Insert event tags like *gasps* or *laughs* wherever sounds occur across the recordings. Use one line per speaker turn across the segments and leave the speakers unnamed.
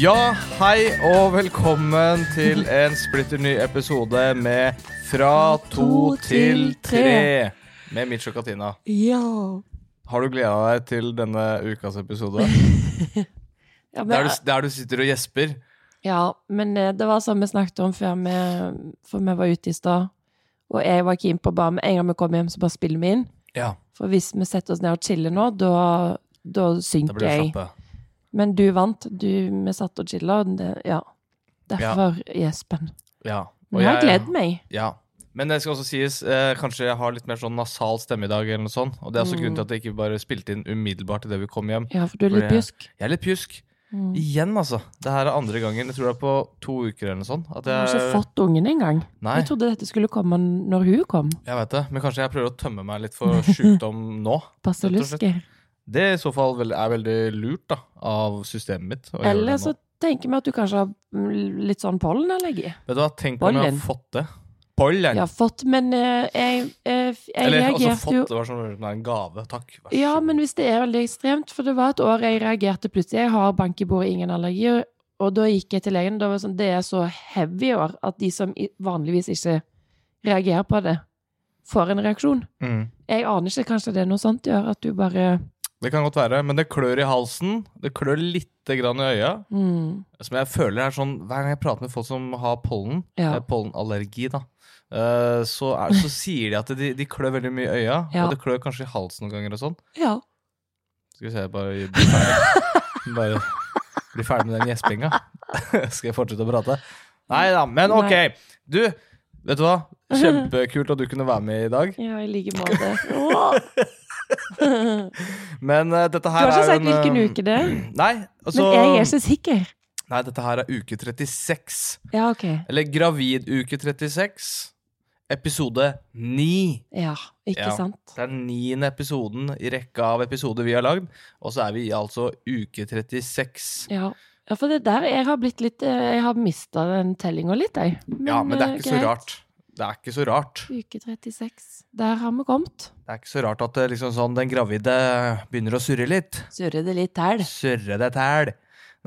Ja, hei og velkommen til en splitter ny episode med Fra to til tre. Med Mitch og Katina.
Ja.
Har du gleda deg til denne ukas *laughs* episode?
Ja, men,
Der du, der du sitter og gjesper?
ja, men eh, det var sånn vi snakket om før vi, før vi var ute i stad. Og jeg var keen på bare med en gang vi kom hjem, så bare spiller vi inn.
Ja,
For hvis vi setter oss ned og chiller nå, da, da
da
synker
blir det
jeg.
slappe.
Men du vant. Du, vi satt og chilla. og det- Ja. Derfor gjespen.
Ja.
Men jeg har gledet meg.
Ja. Men det skal også sies, eh, kanskje jeg har litt mer sånn nasal stemme i dag, eller noe sånt. Og det er også
Mm.
grunnen til at jeg ikke bare spilte inn umiddelbart idet vi kom hjem.
Ja, for du er
For
litt
jeg-
bjusk.
Jeg er litt pjusk.
Mm.
Igjen, altså. Det her er andre gangen. Jeg tror det er på to uker eller noe sånt. At
Du har
jeg,
ikke fått ungen engang.
Eh, Nei.
Jeg trodde dette skulle komme når hun kom.
Jeg vet det, men kanskje jeg prøver å tømme meg litt for
*laughs*
sjukdom nå.
Basillusker.
Det i så fall vel- er veldig lurt da, av systemet mitt. å gjøre
Eller
det nå.
så tenker vi at du kanskje har mm, litt sånn pollenallergi.
Vet du hva, tenk om jeg har
Pollen.
fått det. Pollen!
Ja, fått, men eh, jeg, eh, jeg
Eller også
reagerte
fått
jo
det var sånn det er en gave. Takk. Vær så
Ja,
god.
men hvis det er veldig ekstremt, for det var et år jeg reagerte plutselig. Jeg har bank i bordet, ingen allergier. Og da gikk jeg til legen. Da var det sånn, det er så heavy i år at de som i- vanligvis ikke reagerer på det, får en reaksjon.
mm.
Jeg aner ikke, kanskje det er noe sånt i år, at du bare
Det kan godt være, men det klør i halsen. Det klør lite grann i øya.
mm,
Som jeg føler er sånn Hver gang jeg prater med folk som har pollen,
Ja.
eh, pollenallergi, da, eh, så, er, så sier de at de, de klør veldig mye i øya.
Ja.
Og det klør kanskje i halsen noen ganger og sånn.
Ja.
Skal vi se, bare bli ferdig, *laughs* bare bli ferdig med den gjespinga. *laughs* Skal jeg fortsette å prate? Nei da, men ok. Du, vet du hva? Kjempekult at du kunne være med i dag.
Ja, i like
*laughs*
måte. Åh! *laughs*
Men eh, dette
Du har
her
ikke
er
sagt hvilken
eh,
uke det er?
*clears throat* Nei, altså,
Men jeg er ikke sikker.
nei, dette her er uke 36.
Ja, ok.
Eller graviduke 36. Episode 9.
Ja, ikke
Ja.
sant?
Det er den niende episoden i rekka av episoder vi har lagd. Og så er vi i altså uke 36.
Ja. ja, for det der Jeg har blitt litt eh, Jeg har mista den tellinga litt, jeg.
Ja, men det er
eh,
ikke så
greit.
rart. Det er ikke så rart.
Uke 36. Der har vi kommet.
Det er ikke så rart at det liksom sånn, den gravide begynner å surre litt.
Surrer det litt tæl.
Surre det tæl.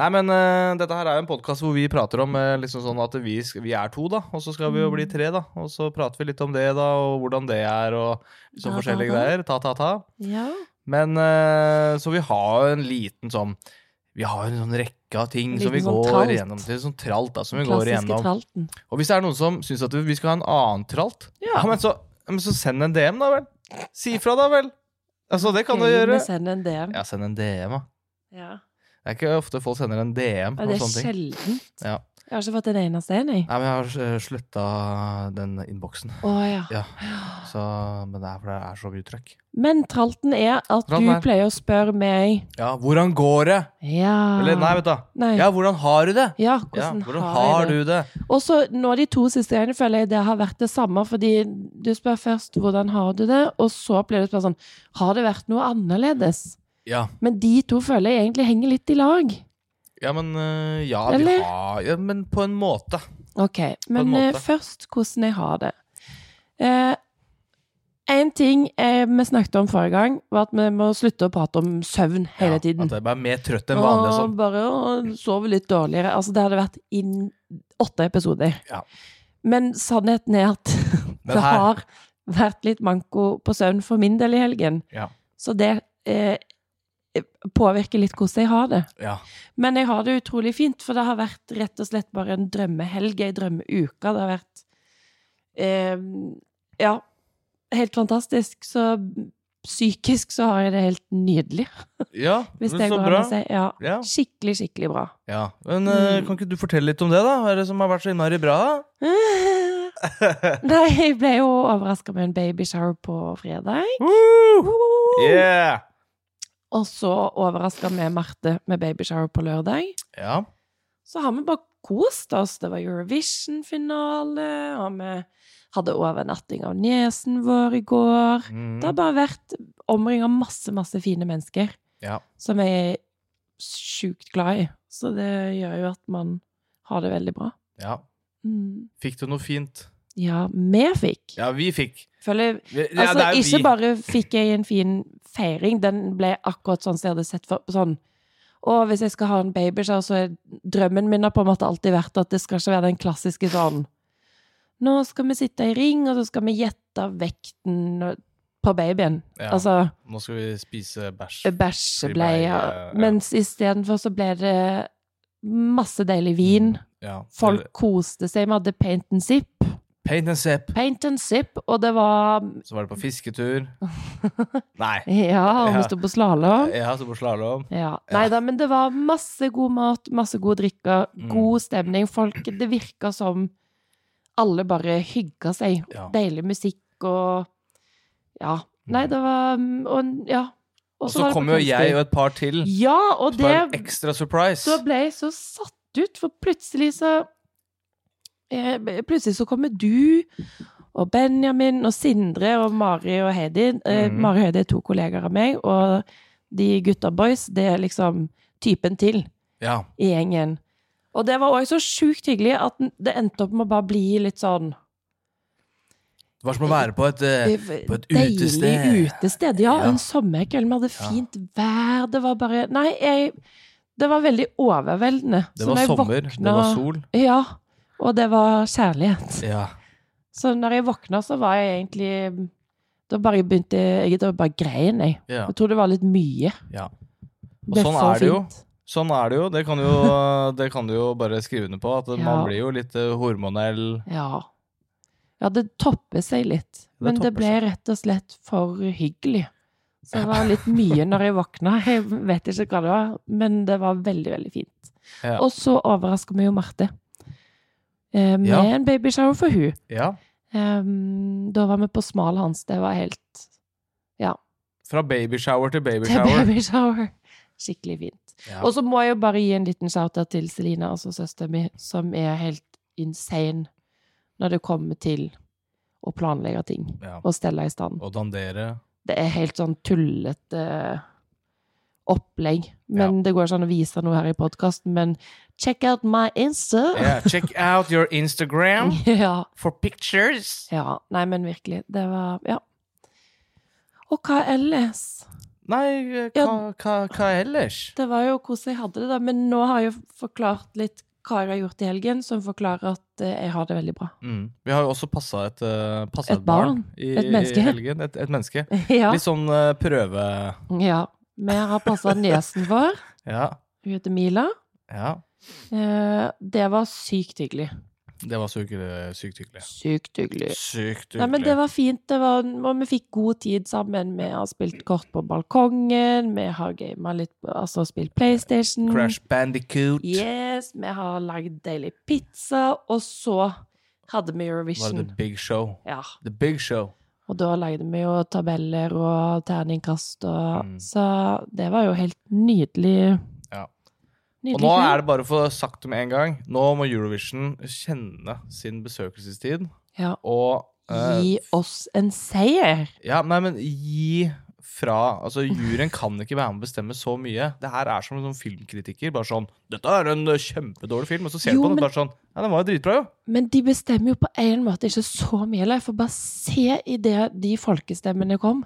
Nei, men eh, dette her er jo en podkast hvor vi prater om eh, liksom sånn at vi, sk- vi er to, da. Og så skal vi jo
Mm.
bli tre, da. Og så prater vi litt om det, da, og hvordan det er, og
Da,
sånn
da,
forskjellige
da.
greier. Ta, ta, ta.
Ja.
Men eh, så vi har jo en liten sånn Vi har jo en sånn rekke av ting
En
som vi
liten sånn
går
tralt.
igjennom til. Sånn tralt, da, som vi går
Klassiske
igjennom.
tralten.
Og hvis det er noen som syns at vi skal ha en annen tralt, ja.
Ja.
men, så, men så send en DM, da vel. Si ifra, da vel. Altså, det kan du
Ok,
gjøre.
Vi sender en DM. Ja.
Ja, send en DM, da.
Ja.
Det er ikke ofte folk sender en DM
Ja,
om
det er
sånne ting.
sjeldent.
Ja.
Jeg har ikke fått en eneste en, jeg.
Nei, men jeg har slutta den innboksen.
Å ja.
Ja. Så, men det er fordi det er så mye trøkk.
Men tralten er at
Tralten er-
du pleier å spørre meg
Ja, hvordan går det?
Ja.
Eller nei, vet du.
Nei.
Ja, hvordan har du det?
Ja,
Ja,
Ah. hvordan,
hvordan
har jeg
har
det?
du det?
Og så nå de to siste gangene føler jeg det har vært det samme, fordi du spør først hvordan har du det, og så blir det spørt sånn har det vært noe annerledes?
Ja.
Men de to føler jeg egentlig henger litt i lag.
Ja, men øh, ja, vi
Eller?
har ja, Men på en måte.
Ok, men eh,
måte.
først hvordan jeg har det. Eh, en ting eh, vi snakket om forrige gang, var at vi må slutte å prate om søvn hele
Ja,
tiden.
at jeg bare er mer trøtt enn vanlig. og
Og
Sånn.
bare å sove litt dårligere. Altså, det hadde vært i åtte episoder.
Ja.
Men sannheten er at
Men
det
her-
har vært litt manko på søvn for min del i helgen.
Ja.
Så det eh, påvirker litt hvordan jeg har det.
Ja.
Men jeg har det utrolig fint, for det har vært rett og slett bare en drømmehelg, ei drømmeuke. Det har vært eh, Ja, helt fantastisk. Så psykisk så har jeg det helt nydelig,
ja,
hvis
men
det
så
går
bra.
an å si. Ja.
Ja,
Skikkelig, skikkelig
*laughs*
bra.
ja. Men øh,
Mm.
kan ikke du fortelle litt om det, da? Hva er det som har vært så innmari bra?
Nei, jeg ble jo overraska med en babyshower på fredag.
Woo! Yeah!
Og så overraska vi Marte med babyshower på lørdag.
Ja.
Så har vi bare kost oss. Det var Eurovision-finale, og vi hadde overnatting av niesen vår i går.
Mm.
Det har bare vært omringa masse, masse fine mennesker
Ja.
som jeg er sjukt glad i. Så det gjør jo at man har det veldig bra.
ja.
Mm.
Fikk du noe fint?
Ja, vi fikk.
Ja, vi fikk.
Føler
Vi, ja,
Altså,
det er jo
ikke
vi.
bare fikk jeg en fin feiring, den ble akkurat sånn som jeg hadde sett for sånn Og hvis jeg skal ha en babyshower, så er drømmen min har på en måte alltid vært at det skal ikke være den klassiske sånn Nå skal vi sitte i ring, og så skal vi gjette vekten på babyen.
Ja.
Altså Eh,
Nå skal vi spise bæsj.
bæsjebleie.
ja.
Mens istedenfor så ble det masse deilig vin.
Ja.
Folk koste seg. Vi hadde paint and sip.
Paint and sip.
Paint and sip, og det var
Så var det på
*laughs*
fisketur. Nei.
Ja, og
Ja.
vi sto på slalåm.
Jeg har så på slalåm.
Ja. Nei da, men det var masse god mat, masse god drikke,
Mm.
god stemning. Folk, det virka som alle bare hygga seg.
Ja.
Deilig musikk og Ja. Nei,
Mm.
det var Og ja.
Og
var
så
det på
kom jo jeg
kveldstur.
og et par til.
Ja, og
Så det var en
det
ekstra surprise.
Så ble jeg så satt ut, for plutselig så eh, Plutselig så kommer du og Benjamin og Sindre og Mari og Heidi. Eh,
Mhm.
Mari og Heidi er to kollegaer av meg, og de gutta boys, det er liksom typen til
Ja.
i gjengen. Og det var òg så sjukt hyggelig at den- det endte opp med å bare bli litt sånn
Det var som å være på et eh,
det-
på et
deilig
utested.
utested. Ja,
Ja.
en sommerkveld. Vi hadde
Ja.
fint vær. Det var bare Nei, jeg Det var veldig overveldende.
Det
Så
var
når jeg
sommer, det
våkna-
var sol.
Ja. Og det var kjærlighet.
Ja.
Så når jeg våkna, så var jeg egentlig Da bare begynte jeg Da bare grein jeg.
ja.
Jeg tror det var litt mye.
Ja.
Og
sånn er det jo. Sånn er det jo. Det kan du
*laughs*
jo, det kan du jo bare skrive under på. At man
Ja.
blir jo litt eh, hormonell.
Ja. Ja, det topper seg litt. Men det
topper
ble rett og slett for hyggelig. Så det var litt mye når
*laughs*
jeg våkna. Jeg vet ikke hva det var, men det var veldig, veldig fint.
Ja.
Og så overrasker vi jo Marte. Eh, Med
Ja.
en babyshower for hun.
Ja.
Eh, Da var vi på smal hans. Det var helt
Fra babyshower til
til
babyshower.
babyshower. Skikkelig fint.
Ja.
Og så må jeg jo bare gi en liten shout-out til Selina, altså søsteren min, som er helt insane når det kommer til å planlegge ting
Ja.
og stelle i stand.
Og dandere.
Det er helt sånn tullete eh, opplegg. Men det går ikke an å vise noe her i podkasten, men check out my Insta!
Yeah, check out your Instagram
*laughs* ja.
for pictures.
ja. Nei, men virkelig. Det var Ja. Og hva ellers?
Nei, eh, hva,
Ja.
hva, hva ellers?
Det var jo hvordan jeg hadde det, da. Men nå har jeg jo forklart litt hva jeg har gjort i helgen, som forklarer at eh, jeg har det veldig bra.
Mm. Vi har jo også passa et, eh, passet
Et
et barn,
barn.
i,
Et menneske.
i helgen. Et, et menneske.
Ja.
Litt sånn eh, prøve...
ja. Vi har passa niesen vår.
Ja,
Hun heter Mila.
ja.
Eh, Det var sykt hyggelig.
Det var sykt, sykt hyggelig.
Sykt hyggelig.
Sykt
Nei, men det
hyggelig.
var fint. Det var, og vi fikk god tid sammen. Vi har spilt kort på balkongen, vi har gama litt, altså spilt PlayStation.
Crash Bandicoot.
Yes, vi har lagd deilig pizza, og så
Var
hadde vi
det
Eurovision.
The Big Show?
Ja.
The Big Show.
Og da lagde vi jo tabeller og terningkast og
Mm.
Så det var jo helt nydelig.
Ja.
Nydelig
Og nå er det bare å få sagt det med en gang. Nå må Eurovision kjenne sin besøkelsestid
Ja.
og eh,
Gi oss en seier!
Ja, nei, men gi fra Altså, juryen kan ikke være med å bestemme så mye. Det her er som en sånn filmkritiker. Bare sånn 'Dette er en eh, kjempedårlig film', og så ser du
Jo,
på den
men-
og bare sånn 'Ja, den var jo dritbra, jo'.
Men de bestemmer jo på en måte ikke så mye. eller Jeg får bare se idet de folkestemmene kom,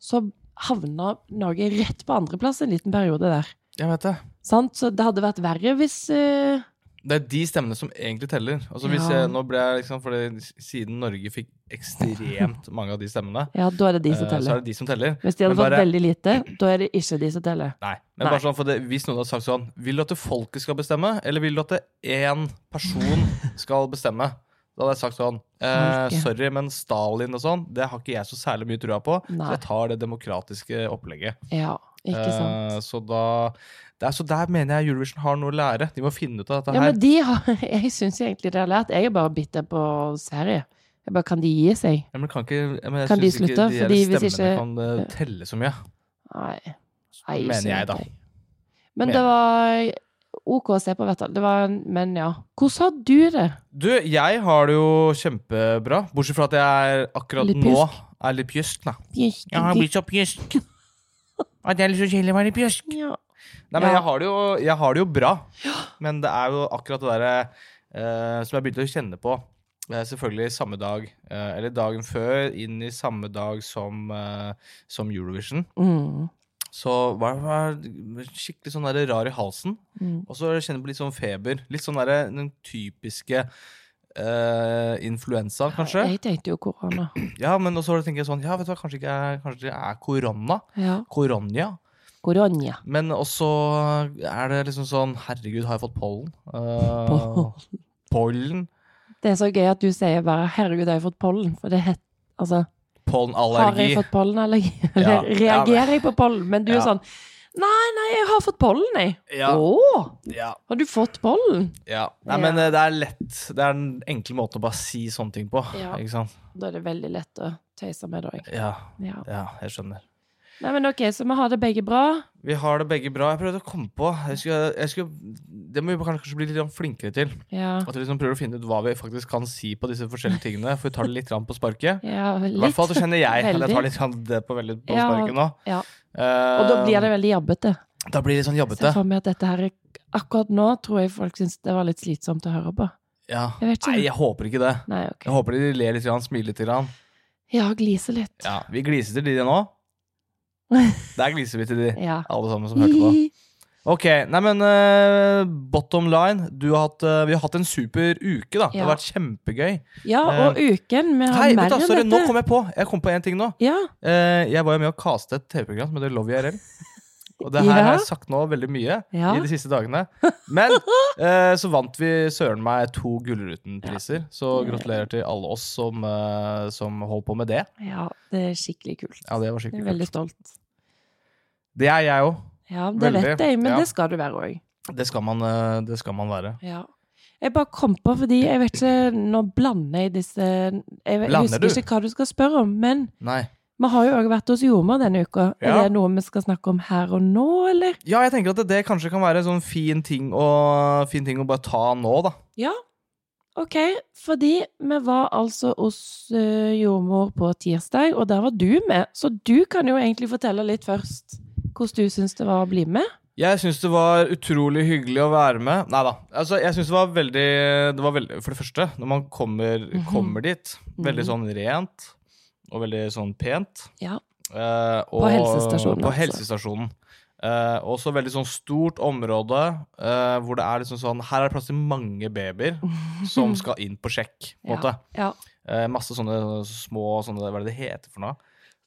så havna Norge rett på andreplass en liten periode der.
Jeg vet det.
Sant? Så det hadde vært verre hvis eh,
Det er de stemmene som egentlig teller. Altså hvis
Ja.
jeg, nå ble jeg liksom, fordi Siden Norge fikk ekstremt mange av de stemmene,
Ja, da er det de som
eh, så
teller.
er det de som teller.
Hvis de hadde
Men bare-
fått veldig lite, da er det ikke de som teller.
Nei, men
Nei.
bare sånn, for det, Hvis noen hadde sagt sånn Vil du at det folket skal bestemme, eller vil du at det én
*laughs*
person skal bestemme? Da hadde jeg sagt sånn eh,
Folket.
Sorry, men Stalin og sånn, det har ikke jeg så særlig mye trua på.
Nei.
Så jeg tar det demokratiske opplegget.
Ja, ikke
Eh,
sant?
så da det er, Så der mener jeg Eurovision har noe å lære. De må finne ut av dette
Ja,
her.
men de har, *laughs* jeg syns egentlig det har lært. Jeg er bare bitter på Sverige. Jeg bare, kan de gi seg?
Ja, men kan ikke, ja, men jeg
Kan de
synes ikke
slutte?
De der
Fordi
stemmene
hvis ikke-
kan eh, telle så mye.
Nei. Nei
Mener
ikke
jeg, da.
egentlig. Men
Mener.
det var OK å se på, vet du. Det var, men ja. Hvordan har du det?
Du, jeg har det jo kjempebra. Bortsett fra at jeg er akkurat
Litt
nå er litt pjøsk, da. Jeg har blitt så pjøsk. At jeg er litt så kjedelig å være pjøsk.
Ja.
Nei, men
Ja.
jeg har, det jo, jeg har det jo bra. Men det er jo akkurat det derre eh, som jeg begynte å kjenne på. Eh, selvfølgelig samme dag, eh, eller dagen før, inn i samme dag som, eh, som Eurovision.
Mm.
så var var skikkelig sånn der rar i halsen.
Mm.
Og så kjenner jeg på litt sånn feber. Litt sånn der, den typiske eh, influensa, kanskje.
Jeg tenkte jo korona.
Ja, men også tenker jeg sånn Ja, vet du hva, kanskje, ikke er, kanskje det er korona.
Ja.
Koronja.
Korona.
Men også er det liksom sånn Herregud, har jeg fått pollen? Eh,
Pollen.
pollen?
Det er så gøy at du sier bare 'herregud, har jeg fått pollen'? For det het, altså, har jeg
Pollenallergi.
fått pollenallergi?
Ja,
*laughs* Eller
ja, men-
reagerer jeg på pollen? Men du er
Ja.
sånn 'nei, nei, jeg har fått pollen, jeg'.
Ja,
Å,
ja,
har du fått pollen?
ja. Nei,
Ja.
men eh, det er lett. Det er den enkle måten å bare si sånne ting på.
Ja.
Ikke sant?
Da er det veldig lett å tøyse med, da. jeg.
Ja,
Ja.
ja, jeg skjønner.
Nei, men ok, så vi har det begge bra.
Vi har det begge bra. Jeg prøvde å komme på jeg skulle, jeg skulle, Det må vi kanskje kanskje bli litt grann flinkere til.
Ja.
At vi liksom prøver å finne ut hva vi faktisk kan si på disse forskjellige tingene. For vi tar det litt grann på sparket.
ja
I
litt.
hvert fall det kjenner jeg. Eller jeg
Veldig.
tar litt grann det på, veldig på
Ja,
sparket nå.
ja. Og da blir det
Eh,
veldig jabbete.
da blir det litt sånn
Se
jobbete.
for meg at dette her er- Akkurat nå tror jeg folk syns det var litt slitsomt å høre på.
Ja.
Jeg vet ikke.
Nei, jeg håper ikke det.
Nei, ok.
Jeg håper de ler litt, grann, smiler litt. Grann.
Ja, glise litt.
Ja, vi gliser til de nå.
*laughs*
Der gliser vi til de,
Ja.
alle sammen som hørte på. Ok, nei men eh, bottom line. Du har hatt, eh, vi har hatt en super uke, da. Det har
Ja.
vært kjempegøy.
Ja, og uken Vi har
Eh. Hei,
mer
vet du,
enn
sorry, nå
dette.
kom jeg på Jeg kom på en ting nå.
Ja.
Eh, jeg var jo med å kaste et TV-program som heter Love
*laughs*
IRL. Og det her
Ja.
har jeg sagt nå veldig mye
Ja.
i de siste dagene.
*laughs*
Men eh, så vant vi søren meg to Gullruten-priser. Så gratulerer til alle oss som, eh, som holdt på med det.
ja, det er skikkelig kult.
Ja, det var
jeg
skikkelig
er veldig
kult.
stolt.
Det er jeg òg.
Ja, det
Veldig,
vet jeg, men
ja.
det skal du være òg.
Det, skal man, eh, det skal man være.
Ja. Jeg bare kom på, fordi jeg vet ikke Nå blander jeg disse Jeg, jeg
Blander
husker
du?
ikke hva du skal spørre om, men
Nei.
vi har jo òg vært hos jordmor denne uka.
Ja.
Er det noe vi skal snakke om her og nå, eller?
Ja, jeg tenker at det, det kanskje kan være en sånn fin ting å, fin ting å bare ta nå, da.
OK, fordi vi var altså hos eh, jordmor på tirsdag, og der var du med, så du kan jo egentlig fortelle litt først hvordan du syns det var å bli med.
Jeg syns det var utrolig hyggelig å være med. Nei da. Altså, jeg syns det var veldig Det var veldig For det første, når man kommer,
Mhm.
kommer dit, veldig
Mhm.
sånn rent og veldig sånn pent.
Ja.
Eh, og,
På helsestasjonen,
På
altså.
helsestasjonen. Eh, også veldig sånn stort område eh, hvor det er liksom sånn Her er det plass til mange
*laughs*
babyer som skal inn på sjekk. På en måte.
Ja.
Eh, masse sånne små sånne, Hva er det det heter for noe?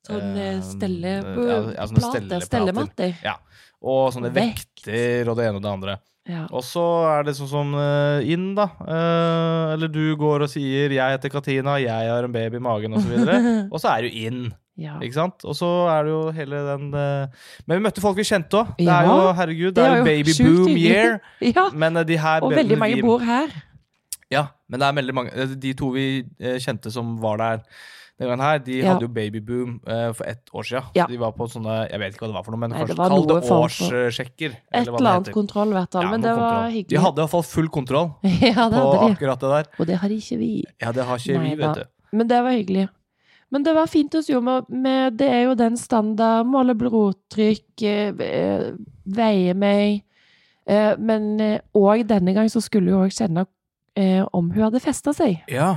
Sånn
Eh,
eh, stelle...
ja, ja, sånne
plater,
stelleplater.
stellematter.
Og sånne
Vekt.
vekter og det ene og det andre.
Ja.
Og så er det sånn som eh, inn, da. Eh, eller du går og sier 'jeg heter Katina, jeg har en baby i magen', osv. Og, så
*laughs*
videre. og så er du inn,
ja.
ikke sant? Og så er det jo hele den eh, Men vi møtte folk vi kjente òg. Det
Ja.
er jo herregud, det
Det
er
er
jo
jo
baby
sjukt
boom
hyggelig.
year.
*laughs* ja.
Men eh, de her
Og
babyene
veldig mange
vi-
bor her.
Ja, men det er veldig mange eh, De to vi eh, kjente som var der den gangen her, de
Ja.
hadde jo babyboom eh, for ett år siden.
Ja.
Så de var på sånne Jeg vet ikke hva det var for noe, men
Nei, det
kanskje
var
kall det
noe form for-
årssjekker. eller hva
Et
det
eller annet
heter.
kontroll, i hvert fall.
Ja,
men
noe
det var
kontroll.
hyggelig.
De hadde i hvert fall full kontroll
*laughs* ja, det
på
hadde de.
akkurat det der.
Og det har ikke vi.
Ja, det har ikke
Nei
vi,
da.
vet du.
Men det var hyggelig. Men det var fint hos jordmor. med- Det er jo den standard måle blodtrykk, eh, eh, veie meg eh, Men eh, og denne gang så skulle hun òg kjenne eh, om hun hadde festa seg.
Ja.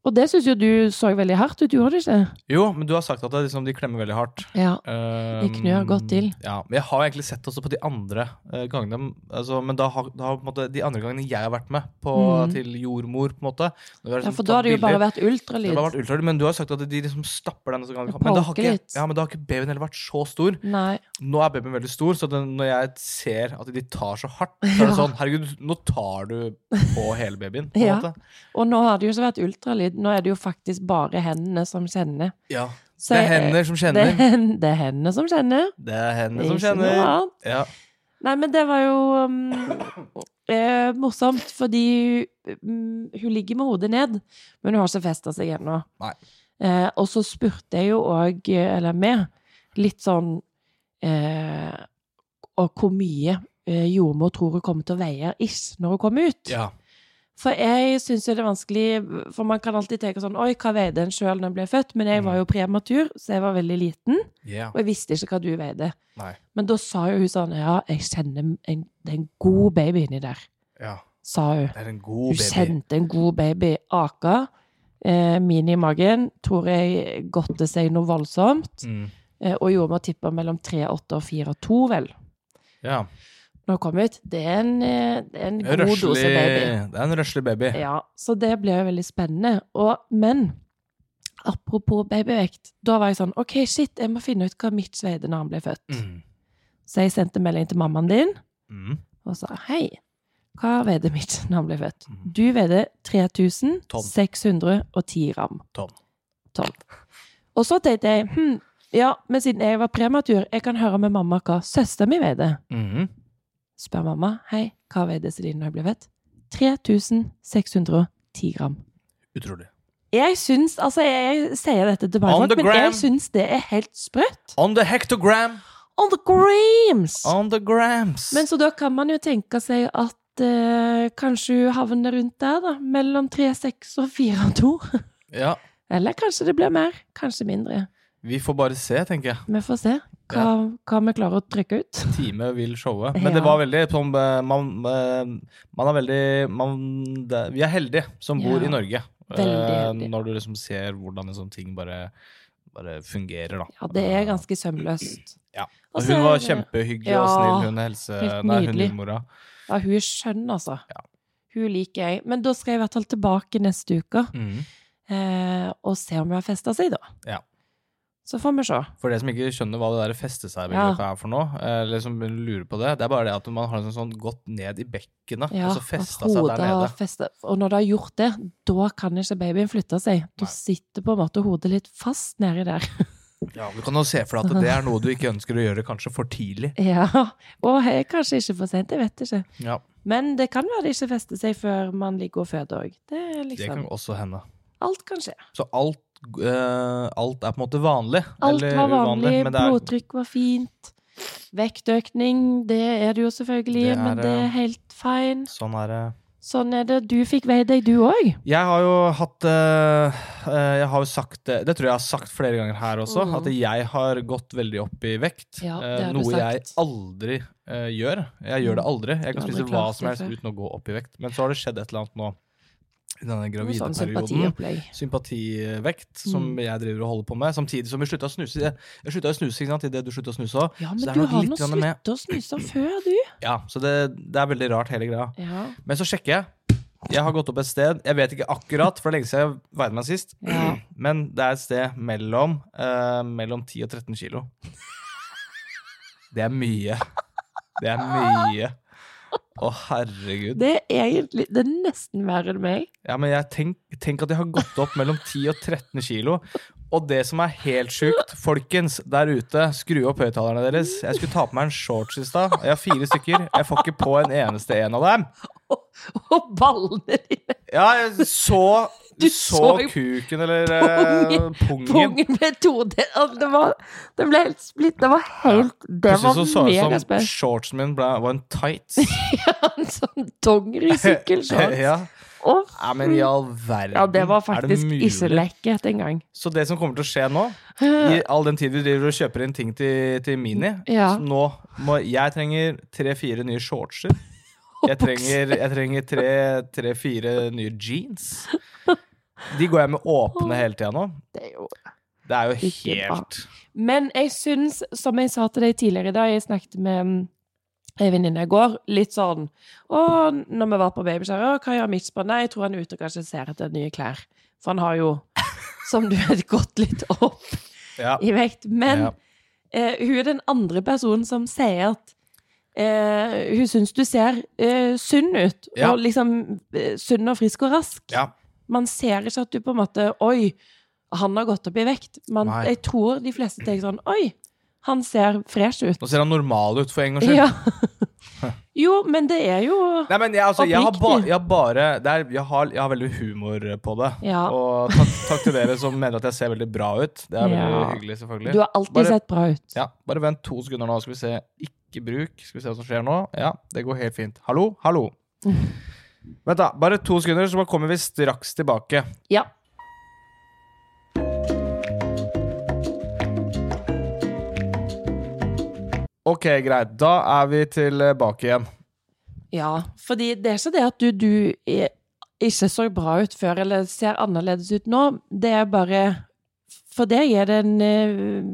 Og det syns jo du så veldig hardt ut, gjorde du ikke?
Jo, men du har sagt at det, er liksom, de klemmer veldig hardt.
Ja.
Um,
knør godt til.
Ja, men Jeg har egentlig sett også på de andre eh, gangene altså, Men da har, da har på en måte, de andre gangene jeg har vært med på,
Mm.
til jordmor, på en måte når vi har
ja
liksom
for
tatt
da har det jo
bilder-
bare vært
Det
ultralyd.
har vært ultralyd, men du har sagt at de liksom stapper den. og så kan-
Det
Men da, har
poker
ikke,
litt.
ja, men da har ikke babyen heller vært så stor.
Nei.
Nå er babyen veldig stor, så den, når jeg ser at de tar så hardt, så er det
Ja.
sånn Herregud, nå tar du på hele babyen. På en
Ja.
måte.
Og nå har det jo ikke vært ultralyd, nå er det jo faktisk bare hendene som kjenner.
ja.
Så
Det er
jeg- *laughs*
hender som
Det er,
kjenner.
hen- det er hendene som kjenner.
Det er hender som
Ikke noe
kjenner.
annet.
Ja.
Nei, men det var jo um, eh, morsomt, fordi mm, hun ligger med hodet ned, men hun har ikke festa seg ennå.
Nei.
Eh, og så spurte jeg jo òg, eller med, litt sånn eh, Og hvor mye eh, jordmor tror hun kommer til å veie ish når hun kommer ut.
ja.
For jeg syns jo det er vanskelig, for man kan alltid tenke sånn Oi, hva veide en sjøl når en ble født? Men
Mm.
jeg var jo prematur, så jeg var veldig liten.
Yeah.
Og jeg visste ikke hva du veide.
Nei.
Men da sa jo hun sånn Ja, jeg kjenner en, det er en god baby inni der,
ja.
sa hun.
Det er en
Hun
god baby.
kjente en god baby. Aka. Eh, min i magen. Tror jeg godte seg noe voldsomt.
Mm.
Eh, Og jordmor tipper mellom 3,8 og 4,2, vel.
Ja.
Når hun kom ut. Det er en, eh, det er en god
Røslig,
dose baby.
det er en røslig baby.
Ja, så det blir jo veldig spennende. Og, men apropos babyvekt, da var jeg sånn OK, shit, jeg må finne ut hva mitt sveide når han ble født.
Mm.
Så jeg sendte melding til mammaen din
Mm.
og sa hei, hva veide mitt *laughs* når han ble født?
Mhm.
Du veide
Tonn.
3610 gram.
Tonn.
Tonn. Og så tenkte jeg hm, ja, men siden jeg var prematur, jeg kan høre med mamma hva søsteren min veide.
Mm.
Spør mamma hei, hva veide Celine når hun ble født? 3610 gram.
Utrolig.
Jeg syns, altså jeg sier dette til mange
On the
folk, men
gram.
jeg syns det er helt sprøtt.
On the hectogram!
On the grams!
On the grams!
Men så da kan man jo tenke seg at eh, kanskje hun havner rundt der, da. Mellom 3,6 og 4,2.
ja,
Eller kanskje det blir mer, kanskje mindre.
vi får bare se, tenker jeg.
Vi får se hva, hva vi klarer å trykke ut.
Time vil showe. Men
Ja.
det var veldig sånn eh, Man, eh, man er veldig man, det, Vi er heldige som bor
Ja.
i Norge. Eh,
Veldig heldige.
Når du liksom ser hvordan liksom ting bare, bare fungerer, da.
Ja, det er ganske sømløst.
Ja.
Og
Og
så
hun
er
var
det-
kjempehyggelig og
Ja,
snill, hun helse...
helt
Nei, hun
nydelig.
jordmora.
Ja, hun er skjønn, altså.
Ja.
Hun liker jeg. Men da skal jeg i hvert fall tilbake neste uke
Mm.
eh, og se om hun har festa seg, da.
Ja.
Så får vi se.
For det som ikke skjønner hva det der feste
Ja.
seg-begrepet er for noe, eh, eller som lurer på det, det er bare det at man har liksom sånn gått ned i bekkenet,
Ja,
og så festa seg der
har
nede.
festet- Og når det har gjort det, da kan ikke babyen flytte seg. Da
Nei.
sitter på en måte hodet litt fast
*laughs*
nedi der.
Ja, Du kan jo se for deg at det er noe du ikke ønsker å gjøre kanskje for tidlig.
Ja, Og er kanskje ikke for sent, jeg vet ikke.
Ja,
Men det kan være det ikke fester seg før man ligger og føder òg. Det er
Det kan
liksom
også hende.
Alt kan skje.
Så alt, eh, alt er på en måte vanlig.
Alt
eller
var
uvanlig,
vanlig,
men det er-
blodtrykk var fint. Vektøkning, det er det jo selvfølgelig,
Det er,
men det
eh,
er helt fine.
Sånn er det.
Sånn er det. Du fikk veid deg, du òg.
Jeg har jo hatt eh, eh, Jeg har jo sagt det Det tror jeg jeg har sagt flere ganger her også,
Mhm.
at jeg har gått veldig opp i vekt.
Ja, det
eh,
har du
noe jeg
sagt. Mm.
aldri eh, gjør. Jeg gjør det aldri. Jeg
Du
kan
har
spise
aldri
hva
klart
som
det
helst
før.
uten å gå opp i vekt. Men så har det skjedd et eller annet nå i denne
Sånn
gravideperioden.
sympatiopplegg.
Sympativekt, som
Mm.
jeg driver og holder på med. Samtidig som vi slutta å snuse. Jeg, jeg slutta å snuse ikke sant, idet du slutta å snuse òg.
Ja,
Så
men
det er
du
nok
har
litt
nå
grann med-
sluttet å snuse før, du.
Ja, så det, det er veldig rart, hele greia.
Ja.
Men så sjekker jeg. Jeg har gått opp et sted. Jeg vet ikke akkurat, for det er lenge siden jeg veide meg sist.
Ja.
Men det er et sted mellom, eh, mellom 10 og 13 kilo. Det er mye. Det er mye. Å, herregud.
Det er egentlig Det er nesten verre enn meg. *laughs*
Ja, men jeg tenk, tenk at jeg har gått opp mellom 10 og 13 kilo. Og det som er helt sjukt, folkens der ute, skru opp høyttalerne deres. Jeg skulle ta på meg en shorts i stad. og Jeg har fire stykker. Jeg får ikke på en eneste en av dem.
Og ballene dine!
Ja, jeg så
*laughs* Du
så,
så jo
kuken, eller eh, pungen.
Pungen ble todelt. Altså, Det var Den ble helt splitt. Det var helt Det
Plutselig
var
så så jeg sånn- ut som
megaspennende.
shortsen min ble, var en
*laughs*
tights.
En *laughs* sånn
*laughs*
dongerisykkelshorts.
ja.
Å,
Nei, men i all verden.
ja, det var
er
faktisk
mulig?
ikke lekkert engang. *sighs*
Så det som kommer til å skje nå, i all den tid vi driver og kjøper inn ting til, til Mini
Ja.
så Nå må jeg trenger tre-fire nye shortser. Jeg
*laughs*
trenger, jeg trenger tre- tre-fire nye jeans.
*laughs*
De går jeg med åpne hele tida nå.
Det er jo
Det er jo
Ikke bra.
helt
Men jeg syns, som jeg sa til deg tidligere i dag, jeg snakket med mm, ei venninne i går, litt sånn Å, når vi var på babyskjær, å, hva gjør Mitch på? Nei, jeg tror han er ute og kanskje ser etter nye klær. For han har jo, som du vet, gått litt opp
ja.
i vekt. Men
Ja.
eh, hun er den andre personen som sier at eh, hun syns du ser eh, sunn ut.
Ja.
Og liksom eh, sunn og frisk og rask.
ja.
Man ser ikke at du på en måte Oi, han har gått opp i vekt. Man,
Nei.
jeg tror de fleste tenker sånn Oi, han ser fresh ut.
Nå ser han normal ut, for en gangs skyld.
Ja. *laughs* Jo, men det er jo
Nei, men jeg, altså, jeg, har ba,
Oppriktig.
jeg har bare det er, jeg, har, jeg har veldig humor på det.
Ja.
Og takk, takk til dere som mener at jeg ser veldig bra ut. Det er veldig
Ja.
hyggelig,
Du
selvfølgelig.
har alltid
Bare-
sett bra ut.
Ja, bare vent to sekunder nå, skal vi se. Ikke bruk. Skal vi se hva som skjer nå. Ja, det går helt fint. Hallo, hallo.
*laughs*
Vent, da. Bare to sekunder, så kommer vi straks tilbake.
Ja.
Ok, greit. Da er vi tilbake igjen.
ja. Fordi det er ikke det at du, du er, ikke så bra ut før, eller ser annerledes ut nå. Det er bare For deg er det en eh,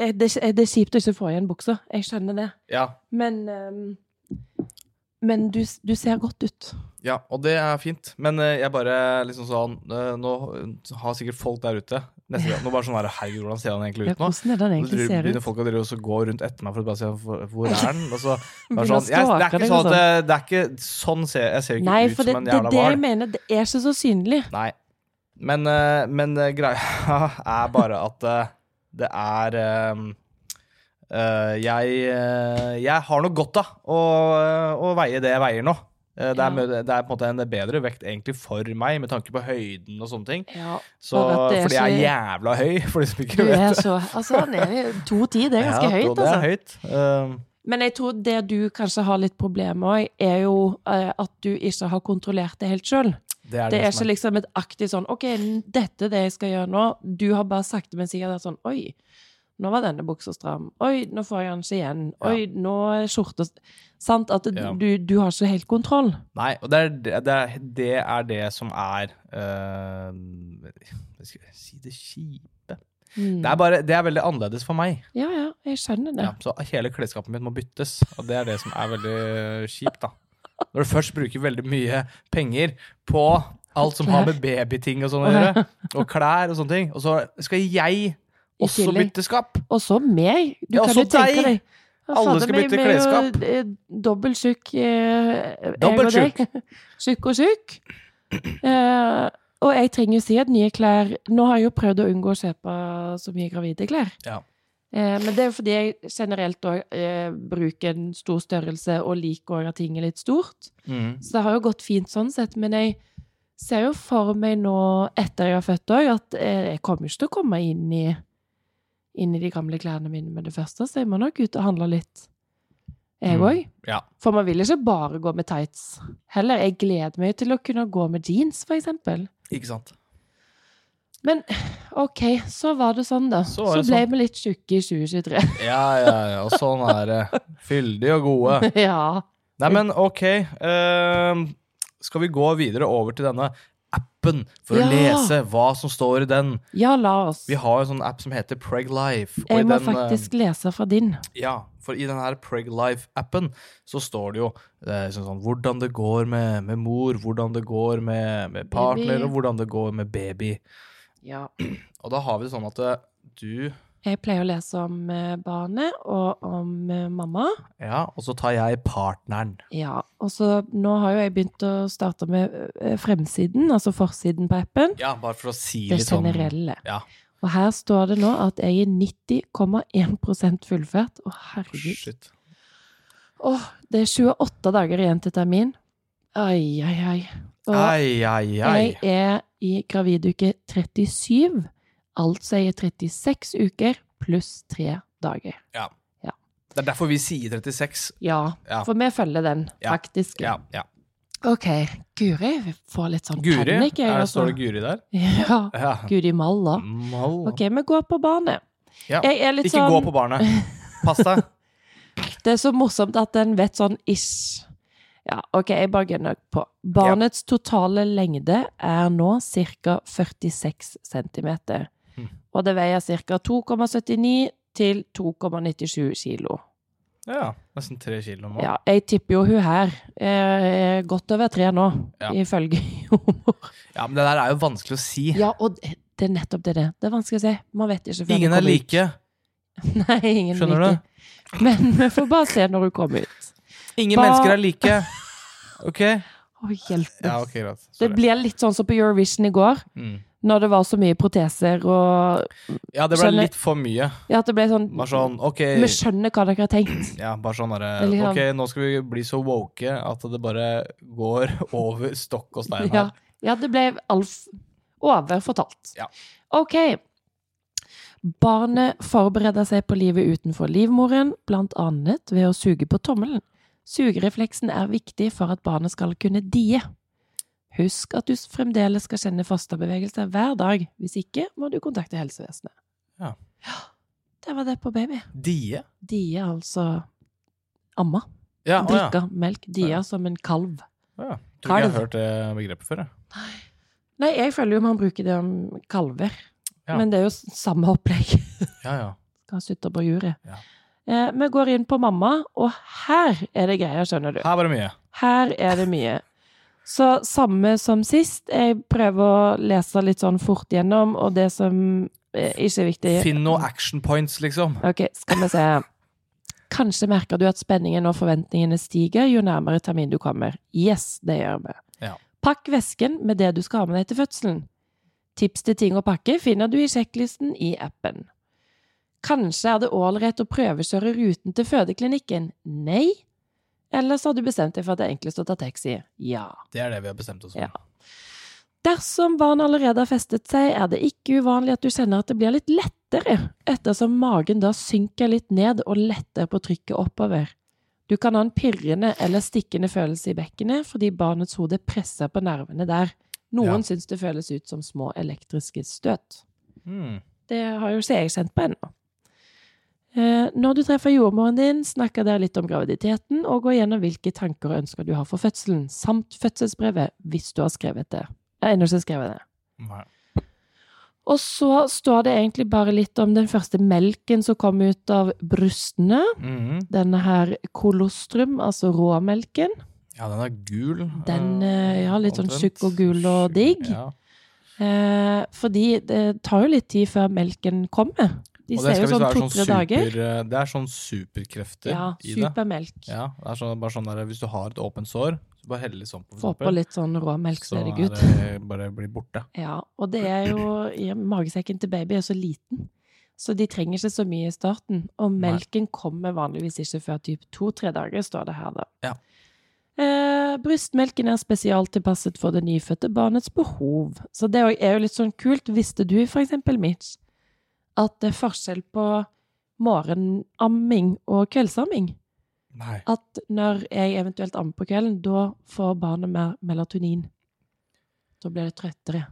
eh, det, er- det er kjipt å ikke få igjen buksa. Jeg skjønner det.
Ja,
Men ehm, Men du, du ser godt ut.
ja, og det er fint. Men eh, jeg bare liksom sånn eh, Nå har sikkert folk der ute neste gang. Nå bare sånn her, Herregud, hvordan ser han egentlig
Ja,
ut nå?
hvordan er den
Og så
egentlig
driver-
ser
begynner
ut?
folk å drive og så gå rundt etter meg for å bare se hvor- hvor er den Og
*laughs*
så, bare
Begynner å
sånn, jeg, det er
stalke
ikke
deg
sånn
og
at jeg, det er ikke sånn ser jeg ser ikke
liksom. Nei,
ut
for det,
som en
det er
jævla
det jeg
hval.
mener. Det er ikke så
*laughs*
synlig.
Nei. Men, eh, men eh, greia *laughs* er bare at eh, det er eh, eh, jeg, eh, jeg har noe godt av å, eh, å veie det jeg veier nå. Eh, det, er,
Ja.
mø- det er på en måte en bedre vekt egentlig for meg, med tanke på høyden og sånne ting.
Ja,
Så,
Bare at det er
fordi jeg er jævla høy, *laughs* for de som ikke
du
vet.
er så Altså, han er 2,10. Det er
Ja,
ganske høyt,
Det
altså.
er høyt. Eh,
Men jeg tror det du kanskje har litt problemer med, er jo eh, at du ikke har kontrollert det helt sjøl.
det er
Det
det,
er
som
ikke
er.
liksom et aktivt sånn OK, n- dette er det jeg skal gjøre nå. Du har bare sakte, men sikkert vært sånn Oi, nå var denne buksa stram. Oi, nå får jeg den ikke igjen.
Ja.
Oi, nå er skjorta st- Sant? At du,
Ja.
du, du har ikke helt kontroll.
Nei, og det er det, det, er, det, er det som er eh, Hva skal jeg si det kjipe?
Mm.
Det er, bare, det er veldig annerledes for meg.
Ja, ja, jeg skjønner det.
Ja, så hele klesskapet mitt må byttes, og det er det som er veldig eh, kjipt, da. Når du først bruker veldig mye penger på alt som har med babyting og sånn å
*laughs*
gjøre, og klær og sånne ting, og så skal jeg
I
også
tillegg.
bytte skap.
Og så meg! Du
Ja,
kan
også
jo tenke
deg.
deg. Ja,
Alle
fader,
skal
vi-
bytte
vi er jo,
klesskap.
eh, Dobbelt tjukk. eh,
Dobbelt
jeg og deg. *laughs* Tjukk og tjukk. Eh, og jeg trenger jo sikkert nye klær. Nå har jeg jo prøvd å unngå å kjøpe så mye gravide klær.
Ja.
Eh, men det er jo fordi jeg generelt òg eh, bruker en stor størrelse og liker òg at ting er litt stort.
Mm.
Så det har jo gått fint sånn sett, men jeg ser jo for meg nå, etter jeg har født òg, at eh, jeg kommer jo ikke til å komme inn i, inn i de gamle klærne mine med det første, så jeg må nok ut og handle litt, jeg
Mm,
òg.
ja.
For man vil ikke bare gå med tights heller. Jeg gleder meg til å kunne gå med jeans, for eksempel.
Ikke sant.
Men OK, så var det sånn, da.
Så
Så,
var det
ble
sånn.
vi litt tjukke i 2023.
Ja, ja, ja. Og sånn er det. Fyldige og gode.
*laughs* ja.
Nei, men ok. ehm, skal vi gå videre over til denne appen for
Ja.
å lese hva som står i den?
ja, la oss.
Vi har jo en sånn app som heter Preglife. og i
Jeg må
den, eh,
faktisk lese fra din.
Ja, for i den her Preg Life-appen så står det jo eh, sånn, sånn, hvordan det går med, med mor, hvordan det går med, med partner,
Baby.
og hvordan det går med baby.
Ja.
Og da har vi det sånn at eh, du
Jeg pleier å lese om eh, barnet og om eh, mamma.
Ja, og så tar jeg partneren.
Ja, og så nå har jo jeg begynt å starte med eh, fremsiden, altså forsiden på appen.
Ja, bare for å si
Det
litt sånn
generelle.
Ja.
Og her står det nå at jeg er 90,1 fullført. Å, herregud.
Shit.
Åh, det er 28 dager igjen til termin. Ai, ai, ai. Og
Ai, ai, ai.
jeg er i graviduke 37, altså jeg er 36 uker pluss 3 dager.
Det er derfor vi sier 36.
Ja,
Ja.
for vi følger den,
Ja,
faktisk.
Ja, ja.
Ok, Guri vi får litt sånn
Guri?
panikk. jeg,
Er,
altså.
står det Guri der?
*laughs* Ja,
Ja.
Guri malla.
Mal.
Ok, vi går på barnet.
Ja.
Jeg er litt
Ikke
sånn,
gå på barnet. Pass
*laughs*
deg.
Det er så morsomt at en vet sånn ish. Ja, ok, jeg bare gønner på. Barnets totale lengde er nå ca. 46 cm.
Mhm.
Og det veier ca. 2,79 til 2,97 kilo.
Ja, nesten tre kilo nå.
Ja, jeg tipper jo hun her eh, er godt over tre nå,
Ja.
ifølge *laughs* jordmor.
Ja, men det der er jo vanskelig å si.
*laughs* Ja, og det det er nettopp det det. er. Det er vanskelig å si. Man vet ikke før
Ingen
det
er
kommer ut.
like.
*laughs* Nei, ingen
Skjønner
er like. Men vi får bare se når hun kommer ut.
Ingen
Ba-
mennesker er like.
*laughs*
Ok?
Å, hjelpes.
Ja, ok, greit.
det
Sorry.
blir litt sånn som på Eurovision i går,
Mm.
når det var så mye proteser og
Ja, det ble
Skjønner-
litt for mye.
Ja, at det ble sånn
Bare sånn, ok
Vi skjønner hva dere har tenkt.
ja, bare sånn der,
Eller ja.
Ok, nå skal vi bli så woke at det bare går *laughs* over stokk og stein
Ja,
her.
ja det ble alf overfortalt.
Ja.
Ok. Barnet forbereder seg på livet utenfor livmoren, blant annet ved å suge på tommelen. Sugerefleksen er viktig for at barnet skal kunne die. Husk at du fremdeles skal kjenne fosterbevegelser hver dag. Hvis ikke må du kontakte helsevesenet. *gasps*
Ja.
Det var det på baby.
Die?
Die, altså amma.
Ja, å ja.
Drikke melk. Die
Ja.
som en kalv.
Å ja. Tror ikke jeg
Kalv.
har hørt det begrepet før. jeg.
Nei, jeg føler jo man bruker det om kalver.
Ja.
Men det er jo s- samme opplegg. *laughs*
Ja, ja.
skal sutte på jury.
Ja.
Eh, vi går inn på mamma, og her er det greier, skjønner du.
Her var det mye.
Her er det mye. Så samme som sist. Jeg prøver å lese litt sånn fort gjennom, og det som eh, ikke er viktig
Finn noen action points, liksom.
Ok, skal vi se. Kanskje merker du at spenningen og forventningene stiger jo nærmere termin du kommer. Yes, det gjør vi.
Ja.
Pakk vesken med det du skal ha med deg til fødselen. Tips til ting å pakke finner du i sjekklisten i appen. Kanskje er det ålreit å prøvekjøre ruten til fødeklinikken? Nei. Eller så har du bestemt deg for at det er enklest å ta taxi? Ja.
Det er det vi har bestemt oss for.
Ja. Dersom barnet allerede har festet seg, er det ikke uvanlig at du kjenner at det blir litt lettere, ettersom magen da synker litt ned og letter på trykket oppover. Du kan ha en pirrende eller stikkende følelse i bekkenet fordi barnets hode presser på nervene der.
Ja.
Noen syns det føles ut som små elektriske støt.
Hmm.
Det har jo ikke jeg kjent på ennå. Eh, Når du treffer jordmoren din, snakker dere litt om graviditeten og går gjennom hvilke tanker og ønsker du har for fødselen, samt fødselsbrevet, hvis du har skrevet det. Jeg har ennå ikke skrevet det.
Nei.
Og så står det egentlig bare litt om den første melken som kom ut av brystene.
Mhm.
Denne her kolostrum, altså råmelken.
Ja, den er gul.
Den,
eh,
eh, ja, litt sånn
omtrent.
tjukk og gul og digg.
Ja.
Eh, fordi det tar jo litt tid før melken kommer. De
Og det
ser jo
skal visst
sånn
være
to-tre dager.
super, eh, Det er sånn superkrefter
Ja,
i det.
supermelk.
Ja, det er sånn, bare sånn der, Hvis du har et åpent sår, så bare hell litt sånn på. for
Få på
eksempel.
litt sånn råmelk, så
Så eh,
er det
er
gutt.
det bare blir borte.
Ja, og det er jo i- Magesekken til baby er så liten, så de trenger ikke så mye i starten. Og
Nei.
melken kommer vanligvis ikke før typ to-tre dager, står det her, da.
Ja.
Eh, brystmelken er spesialtilpasset for det nyfødte barnets behov. Så det òg er jo litt sånn kult. Visste du for eksempel, Mitch, at det er forskjell på morgenamming og kveldsamming?
Nei.
at når jeg eventuelt ammer på kvelden, da får barnet mer melatonin. Da blir det trøttere.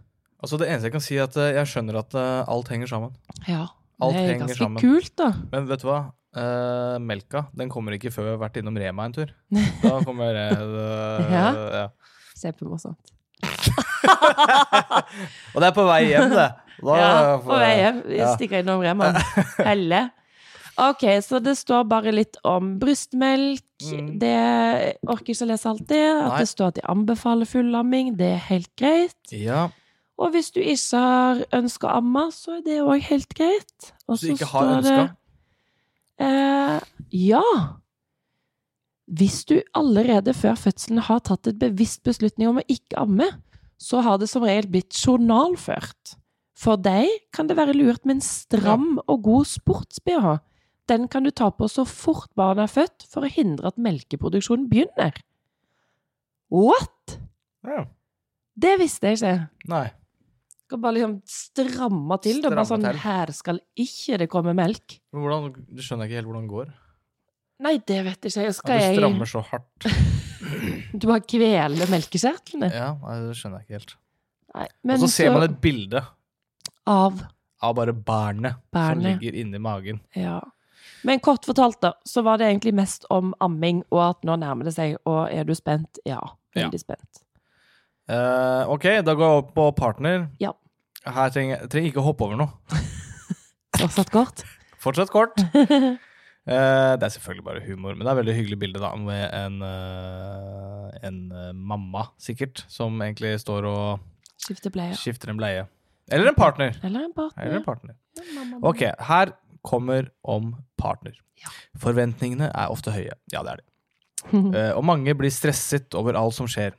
Altså Det eneste jeg kan si, er at eh, jeg skjønner at eh, alt henger sammen.
Ja.
Alt
det er
henger
ganske
sammen.
kult, da.
Men vet du hva? Eh, melka den kommer ikke før jeg har vært innom Rema
*laughs*
en tur. Da kommer jeg eh,
Ja.
ja.
Kjempemorsomt.
Og det er på vei hjem,
*laughs*
det. Da,
Ja, på vei hjem. Vi
Ja.
Stikker innom Rema.
*laughs*
Helle. Ok, så det står bare litt om brystmelk.
Mm.
Det jeg orker ikke å lese alt det. At
Nei.
det står at de anbefaler fullamming, det er helt greit.
Ja,
Og hvis du ikke har ønska å amme, så er det òg helt greit. Og
Hvis du
så
ikke har
står det-
ønska.
Eh, ja. Hvis du allerede før fødselen har tatt et bevisst beslutning om å ikke amme, så har det som regel blitt journalført. For deg kan det være lurt med en stram og god sports-BH. Den kan du ta på så fort barnet er født, for å hindre at melkeproduksjonen begynner. What?!
Ja.
Det visste jeg ikke.
Nei.
Skal bare liksom stramme til. da, bare
Stramme
sånn,
til.
her skal ikke det komme melk.
Men hvordan, du skjønner ikke helt hvordan det går.
Nei, det vet jeg ikke. Skal
ja,
jeg
du strammer så hardt.
Du bare kveler melkekjertlene?
Ja, nei, Det skjønner jeg ikke helt.
Nei,
Og
men
så ser
så-
man et bilde
Av
av bare barnet, som
Barnet.
ligger inni magen.
Ja. Men kort fortalt, da, så var det egentlig mest om amming, og at nå nærmer det seg, og er du spent? Ja. Veldig spent.
Eh, ok, da går jeg opp på partner.
Ja.
Her trenger jeg trenger ikke å hoppe over noe.
Fortsatt kort?
Fortsatt
*laughs*
kort. Eh, det er selvfølgelig bare humor, men det er et veldig hyggelig bilde da, med en, eh, en eh, mamma, sikkert, som egentlig står og
Skifte bleie.
skifter en bleie. Eller en partner.
Eller en
Eller
partner.
en partner.
Ja, mamma, mamma.
Ok, her kommer om partner. Forventningene er ofte høye. Ja,
*laughs*
det er det. Eh, Og mange blir stresset over alt som skjer.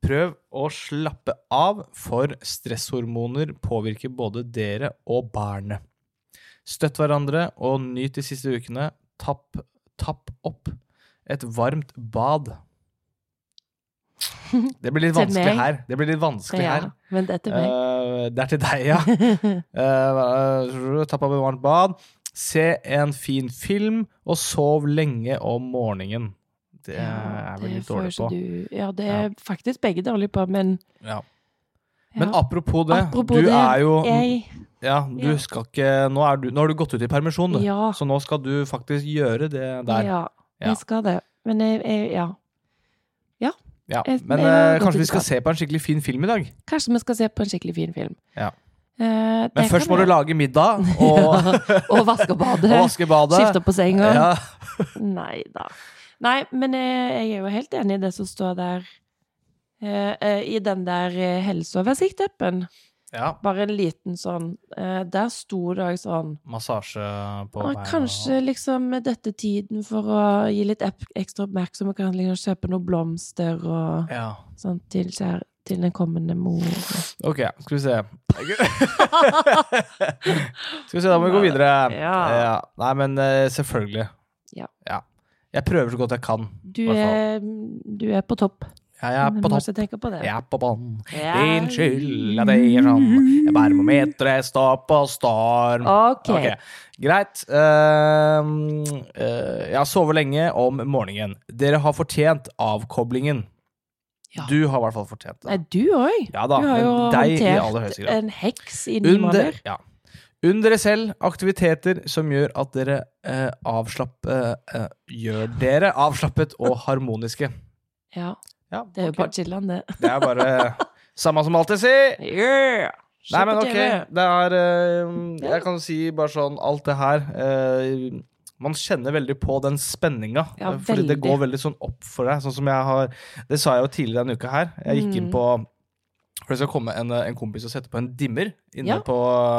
Prøv å slappe av, for stresshormoner påvirker både dere og barnet. Støtt hverandre og nyt de siste ukene. Tapp, tapp opp et varmt
*laughs*
bad. Det blir litt
Til
vanskelig
meg?
her. Det blir litt vanskelig
ja,
her.
men det er til meg.
Eh, det er til deg, ja.
*laughs*
Uh, Tapp av et varmt bad. Se en fin film, og sov lenge om morgenen. Det
Ja,
er jeg vel
det
litt
får
dårlig
ikke
på.
Du, ja, det er faktisk begge dårlige på, men
Ja.
ja.
Men apropos det,
Apropos
du
det,
er jo
jeg,
Ja, du
Ja.
skal ikke nå, er du, nå har du gått ut i permisjon, du.
Ja.
Så nå skal du faktisk gjøre det der. Ja.
Ja, jeg skal det. Men jeg, jeg ja. jeg-
Men
jeg har
eh,
gått ut
kanskje
i
vi skal
perm.
se på en skikkelig fin film i dag?
Kanskje vi skal se på en skikkelig fin film.
Ja.
Eh, det
Men først
kan
må du
jeg-
lage
*laughs*
middag og,
Og
*laughs*
vaske
og
badet.
vaske badet.
Skifte på senga.
Ja.
Nei da. Nei, men eh, jeg er jo helt enig i det som står der. eh, eh, I den der eh, helseoversikt-appen.
ja.
Bare en liten sånn. eh, Der sto det også sånn
Massasje på
«Ah,
beina.
Kanskje liksom dette tiden for å gi litt ep- ekstra oppmerksomhet, kan liksom kjøpe noen blomster og
Ja.
sånn til, kjær- til den kommende mor.
Ok, skal vi se. skal vi se, da må vi gå videre.
Ja.
Nei, men eh, selvfølgelig.
Ja.
Jeg prøver så godt jeg kan.
Du
Hvertfall.
er, du er på topp.
Jeg er
Du
på
må
topp.
ikke tenke på det.
Jeg er på bånn.
Ja.
Din skyld at jeg er sånn. Jeg bærer med meter, jeg står på storm.
Ok.
Ok, Greit. Ehm, eh, jeg har sovet lenge om morgenen. Dere har fortjent avkoblingen.
Ja.
Du har i hvert fall fortjent
Nei,
det.
du òg.
Ja
Du
da,
har jo
men deg i aller
håndtert
høyeste grad.
en heks i ni
Under,
måneder.
ja. Unn dere selv aktiviteter som gjør at dere eh, avslapp... eh, eh, gjør dere avslappet og harmoniske.
Ja,
Ja,
det er jo
ok.
bare chillan,
*laughs*
det.
Det er bare samme som alltid, si!
Yeah! Se
Nei,
på
men ok.
TV.
Det er eh,
Ja.
Jeg kan si bare sånn Alt det her eh, Man kjenner veldig på den spenninga.
Ja,
eh, fordi det
veldig.
går veldig sånn opp for deg. Sånn som jeg har Det sa jeg jo tidligere denne uka her. Jeg gikk inn
Mm.
på for Det skal komme en, eh, en kompis og sette på en dimmer inne
Ja.
på,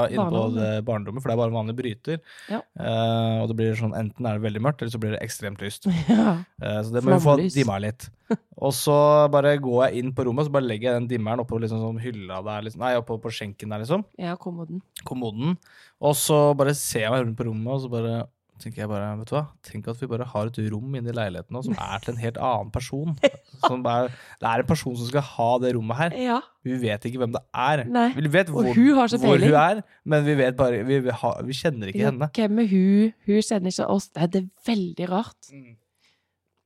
inne på
Barnerommet.
det barnerommet, for det er bare vanlig bryter.
Ja.
Eh, og det blir sånn enten er det veldig mørkt, eller så blir det ekstremt lyst.
Ja.
Eh, Så det må vi få
Flomlys.
dimma litt. Og så bare går jeg inn på rommet og så bare legger jeg den dimmeren oppå liksom sånn hylla der, liksom. nei, oppå på skjenken der, liksom.
ja, kommoden.
Kommoden. Og så bare ser jeg meg rundt på rommet, og så bare tenker jeg bare, vet du hva, tenk at vi bare har et rom inne i leiligheten nå som er til en helt annen
*laughs*
person. Som bare, det er en person som skal ha det rommet her.
Ja.
Vi vet ikke hvem det er.
Nei.
Vi vet hvor,
Og hun har så
hvor hun
peiling.
er, men vi vet bare, vi, vi, har, vi kjenner ikke
Ja,
henne.
Hvem er hun? Hun kjenner ikke oss. Nei, det er veldig rart.
Mm.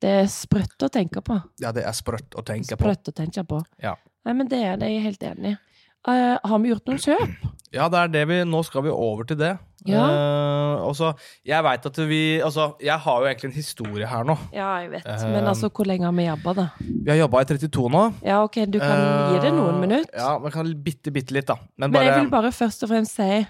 Det er sprøtt å tenke på.
Ja, det er sprøtt å tenke på.
Sprøtt å tenke på.
Ja.
Nei, men det er det jeg er helt enig i. Eh, har vi gjort noen kjøp?
Ja, det er det vi, nå skal vi over til det.
Ja.
Eh, og så, jeg vet at vi Altså, jeg har jo egentlig en historie her nå.
Ja, jeg vet.
Eh,
Men altså, hvor lenge har vi jobba, da?
Vi har jobba i 32 nå.
Ja, OK, du kan gi det noen
Eh,
minutter.
Ja, man kan bitte, bitte litt, da. Men
Men
bare
jeg vil bare først og fremst si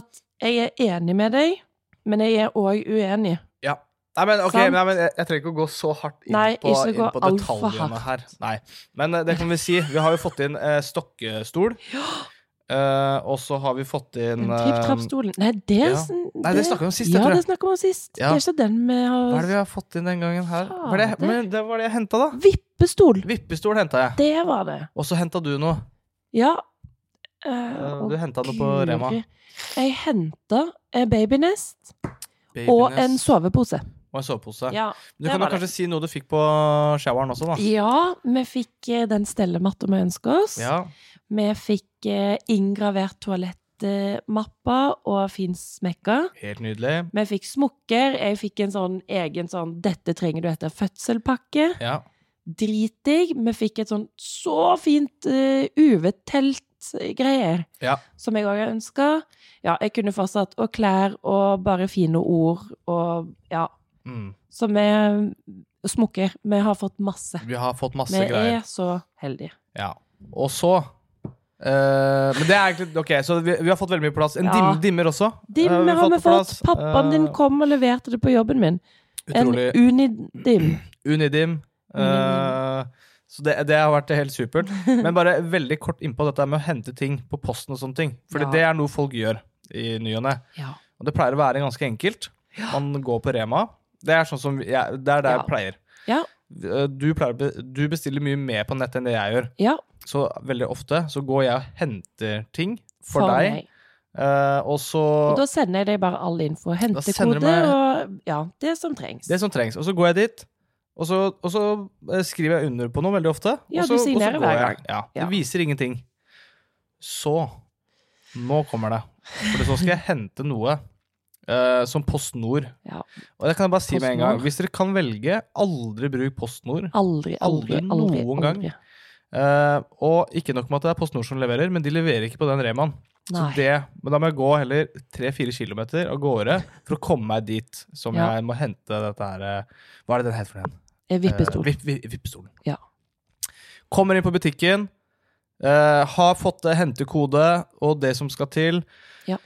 at jeg er enig med deg, men jeg er òg uenig.
ja. Nei, men, ok,
Sant.
nei, men jeg, jeg trenger ikke å gå så hardt inn
Nei,
på,
ikke
inn
gå
på
alt for
detaljene
hardt.
her. Nei. Men eh, det kan vi si. Vi har jo fått inn eh,
*gasps*
stokkestol. Eh, og så har vi fått inn
Den
eh,
tripp-trapp-stolen Nei, det,
ja. Nei, det snakket vi om sist, jeg
Ja,
tror jeg.
det snakket vi om sist.
Ja.
Det er ikke den vi
Hva er
har
det vi har fått inn den gangen her? Hva er det,
Fader.
men, det var det jeg henta, da.
Vippestol!
Vippestol henta jeg.
Det var det.
Og så henta du noe.
Ja. Eh,
Eh,
og
du hentet det på
guri.
Rema.
Jeg henta babynest og en
Babynest.
sovepose.
Og en sovepose.
Ja.
du
det
kan da
var det.
kanskje si noe du fikk på showeren også, da.
vi fikk eh, den stellematta vi ønska oss.
Ja.
Vi fikk eh, inngravert toalettmappa og fin smekka.
Helt nydelig.
Vi fikk smokker. Jeg fikk en sånn egen sånn 'dette trenger du etter fødselpakke'.
Ja.
Dritdigg. Vi fikk et sånn så fint uh, UV-telt-greier.
Ja.
Som jeg òg ønska. Ja, jeg kunne fortsatt. Og klær og bare fine ord og ja.
Mm.
Så vi smokker. Vi har fått masse.
Vi har fått masse
vi
greier.
er så heldige.
Ja. Og så eh, Men det er egentlig Ok, så vi, vi har fått veldig mye plass. En
Ja.
dim, dimmer også. eh,
Dimmer har vi
på
fått.
plass.
Pappaen din
Eh,
kom og leverte det på jobben min.
Utrolig.
En Mm. unidim.
Unidim. eh, så det, det har vært helt
*laughs*
supert. Men bare veldig kort innpå dette med å hente ting på posten og sånne ting. Fordi
Ja.
det er noe folk gjør i ny og ne.
Ja.
Og det pleier å være ganske enkelt. Man går på Rema. Det er sånn som jeg, det er der
Ja.
jeg pleier. Eh,
Ja.
Du, pleier. å be- du bestiller mye mer på nett enn det jeg gjør.
ja
Så veldig ofte så går jeg og henter ting for,
meg.
deg, eh, og så
Og da sender jeg deg bare all info.
sender du
Hentekode
meg-
og ja, det som trengs.
Det som trengs. Og så går jeg dit, og så, og så eh, skriver jeg under på noe veldig ofte.
Ja,
og
du
så, og så
signerer
går
hver
jeg.
gang.
Ja,
Ja.
Det viser ingenting. Så Nå kommer det. For så
*laughs*
skal jeg hente noe eh, som PostNord.
Ja.
Og det kan jeg bare si med en gang.
PostNord.
Hvis dere kan velge, aldri bruk PostNord.
Aldri, aldri,
Aldri
aldri.
noen gang.
aldri.
Eh, og ikke nok med at det er PostNord som leverer, men de leverer ikke på den Remaen. Så
Nei.
det, men da må jeg gå heller 3-4 km av gårde for å komme meg dit som
Ja.
jeg må hente dette her eh, Hva er det den heter for den?
Eh, Vippestol.
Eh, vipp- vipp- vippestolen.
Ja.
Kommer inn på butikken, Eh, har fått det, hentekode og det som skal til.
Ja.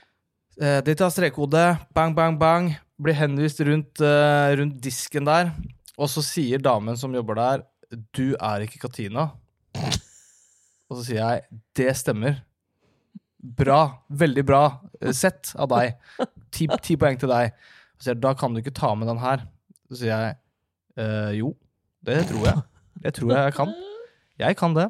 Eh, de tar strekkode, bang, bang, bang. Blir henvist rundt, eh, rundt disken der. Og så sier damen som jobber der, du er ikke Katina. *laughs* Og så sier jeg, det stemmer. Bra. Veldig bra eh, sett av deg. Ti, ti poeng til deg. Så sier jeg, da kan du ikke ta med den her. Så sier jeg, eh, jo, det tror jeg. Det tror jeg jeg kan. Jeg kan det.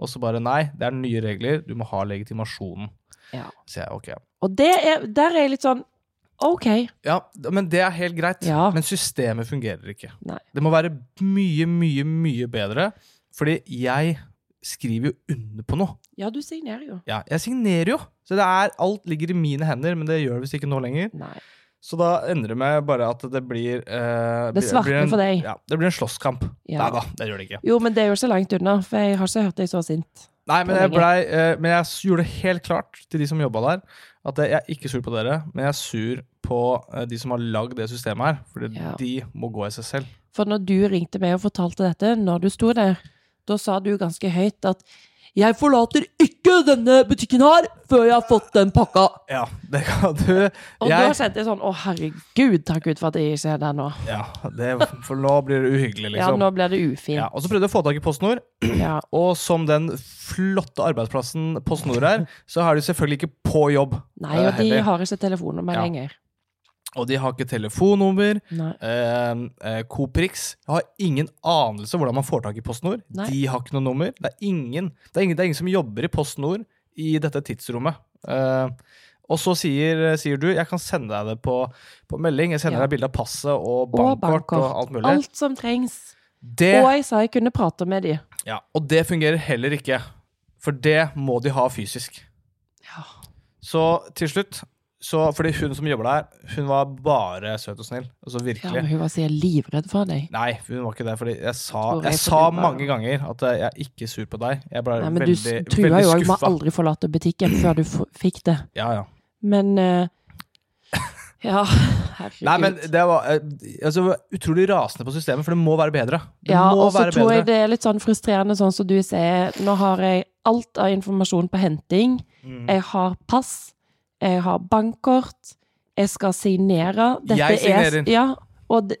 Og så bare nei, det er nye regler, du må ha legitimasjonen.
Ja.
Så sier jeg ok.
Og det er, der er jeg litt sånn OK.
Ja, d- men det er helt greit.
Ja.
Men systemet fungerer ikke.
Nei.
Det må være mye, mye, mye bedre. Fordi jeg skriver jo under på noe.
Ja, du signerer jo.
Ja, jeg signerer jo. Så det er, alt ligger i mine hender, men det gjør det visst ikke nå lenger.
Nei.
Så da endrer det meg bare at det blir eh, blir-
Det
blir
svartner
en-
for deg.
Ja, det blir en slåsskamp.
Ja.
Nei da, det gjør det ikke.
Jo, men det er jo ikke så langt unna, for jeg har ikke hørt deg så sint.
Nei, men
på
jeg,
lenge.
blei, eh, men jeg s- gjorde det helt klart til de som jobba der, at jeg er ikke sur på dere, men jeg er sur på eh, de som har lagd det systemet her. Fordi
Ja.
de må gå i seg selv.
For når du ringte meg og fortalte dette, når du sto der, da sa du ganske høyt at 'Jeg forlater ikke denne butikken her før jeg har fått den pakka'.
Ja, det kan du.
Og da
Jeg,
kjente jeg sånn 'Å, herregud, takk Gud for at jeg ikke er der nå'.
ja, det, for nå blir det uhyggelig,
Ja,
liksom.
nå blir det
Ja,
ufint.
og så prøvde jeg å få tak i PostNord,
Ja.
og som den flotte arbeidsplassen PostNord er, så er de selvfølgelig ikke på jobb.
Nei, og
eh,
de
heller.
har ikke telefonnummer
Ja.
lenger.
og de har ikke telefonnummer.
Nei.
Eh, eh, Coprix har ingen anelse hvordan man får tak i PostNord.
Nei.
De har ikke noe nummer. Det er ingen, det er ingen, det er ingen som jobber i PostNord i dette tidsrommet. Eh, og så sier, sier du jeg kan sende deg det på, på melding. Jeg sender
Ja.
deg bilde av passet og
Og
bankkort og,
bankkort.
alt mulig.
Alt som trengs.
Det,
Og jeg sa jeg kunne prate med de.
ja, og det fungerer heller ikke. For det må de ha fysisk.
Ja.
Så til slutt så, Fordi hun som jobber der, hun var bare søt og snill. Altså
Ja,
virkelig.
men hun var sikkert livredd for deg.
Nei, hun var ikke det. Fordi jeg sa,
Tror jeg
jeg
på
sa
Gud, da.
mange ganger at eh, jeg er ikke sur på deg. Jeg ble
Nei, men
veldig,
du s- trua
veldig
jo òg med
skuffa.
aldri forlate butikken før du f fikk det.
Ja, ja.
Men
*laughs*
eh, Ja, herregud.
Nei, men det var eh, altså, jeg var utrolig rasende på systemet, for det må være bedre. Det
ja,
må
og så
være
tror
bedre.
jeg det er litt sånn frustrerende, sånn som du sier. Nå har jeg alt av informasjon på henting.
Mm.
Jeg har pass. Jeg har bankkort. Jeg skal signere.
Jeg signerer.
Er, ja, og det,